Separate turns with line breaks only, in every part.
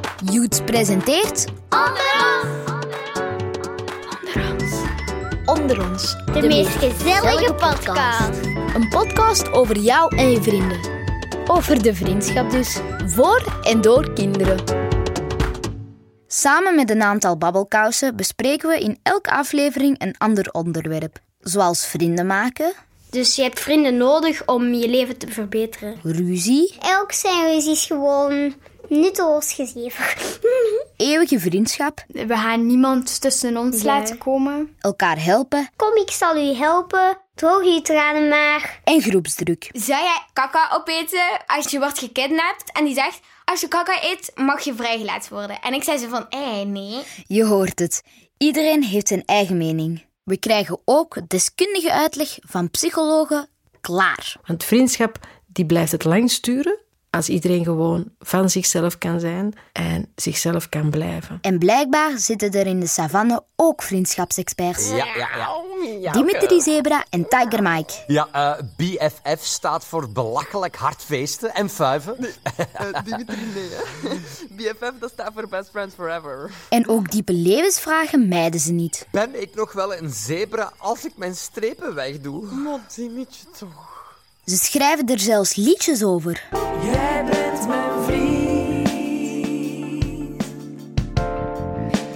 Podcast presenteert Onder ons.
De, meest gezellige podcast.
Een podcast over jou en je vrienden. Over de vriendschap dus. Voor en door kinderen. Samen met een aantal babbelkousen bespreken we in elke aflevering een ander onderwerp. Zoals vrienden maken,
Dus je hebt vrienden nodig om je leven te verbeteren.
ruzie,
Elk zijn ruzies gewoon nutteloos gezever.
eeuwige vriendschap,
We gaan niemand tussen ons
Ja.
laten komen.
elkaar helpen
Kom, ik zal u helpen. Droog uw tranen maar.
en groepsdruk.
Zou jij kaka opeten als je wordt gekidnapt? En die zegt, als je kaka eet, mag je vrijgelaten worden. En ik zei ze van, eh, nee.
Je hoort het. Iedereen heeft zijn eigen mening. We krijgen ook deskundige uitleg van psychologen klaar.
Want vriendschap die blijft het lang sturen als iedereen gewoon van zichzelf kan zijn en zichzelf kan blijven.
En blijkbaar zitten er in de savanne ook vriendschapsexperts.
Ja, ja, ja.
Dimitri Zebra en Tiger Mike.
ja eh, BFF staat voor belachelijk hard feesten en fuiven.
Dimitri, nee. hè. BFF, dat staat voor Best Friends Forever.
En ook diepe levensvragen mijden ze niet.
Ben ik nog wel een zebra als ik mijn strepen wegdoe?
Mon Dimitri, toch.
Ze schrijven er zelfs liedjes over.
Jij bent mijn vriend.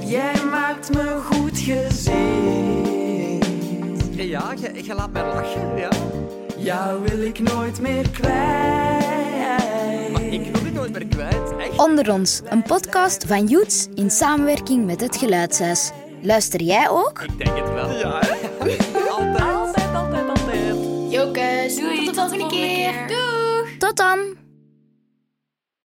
Jij maakt me goed gezien.
Ja, je laat mij lachen, ja.
Jou wil ik nooit meer kwijt.
Ik wil het nooit meer kwijt, echt.
Onder ons, een podcast van Joots in samenwerking met het Geluidshuis. Luister jij ook?
Altijd, altijd, altijd.
Doei, tot de volgende keer. Doei.
Tot dan!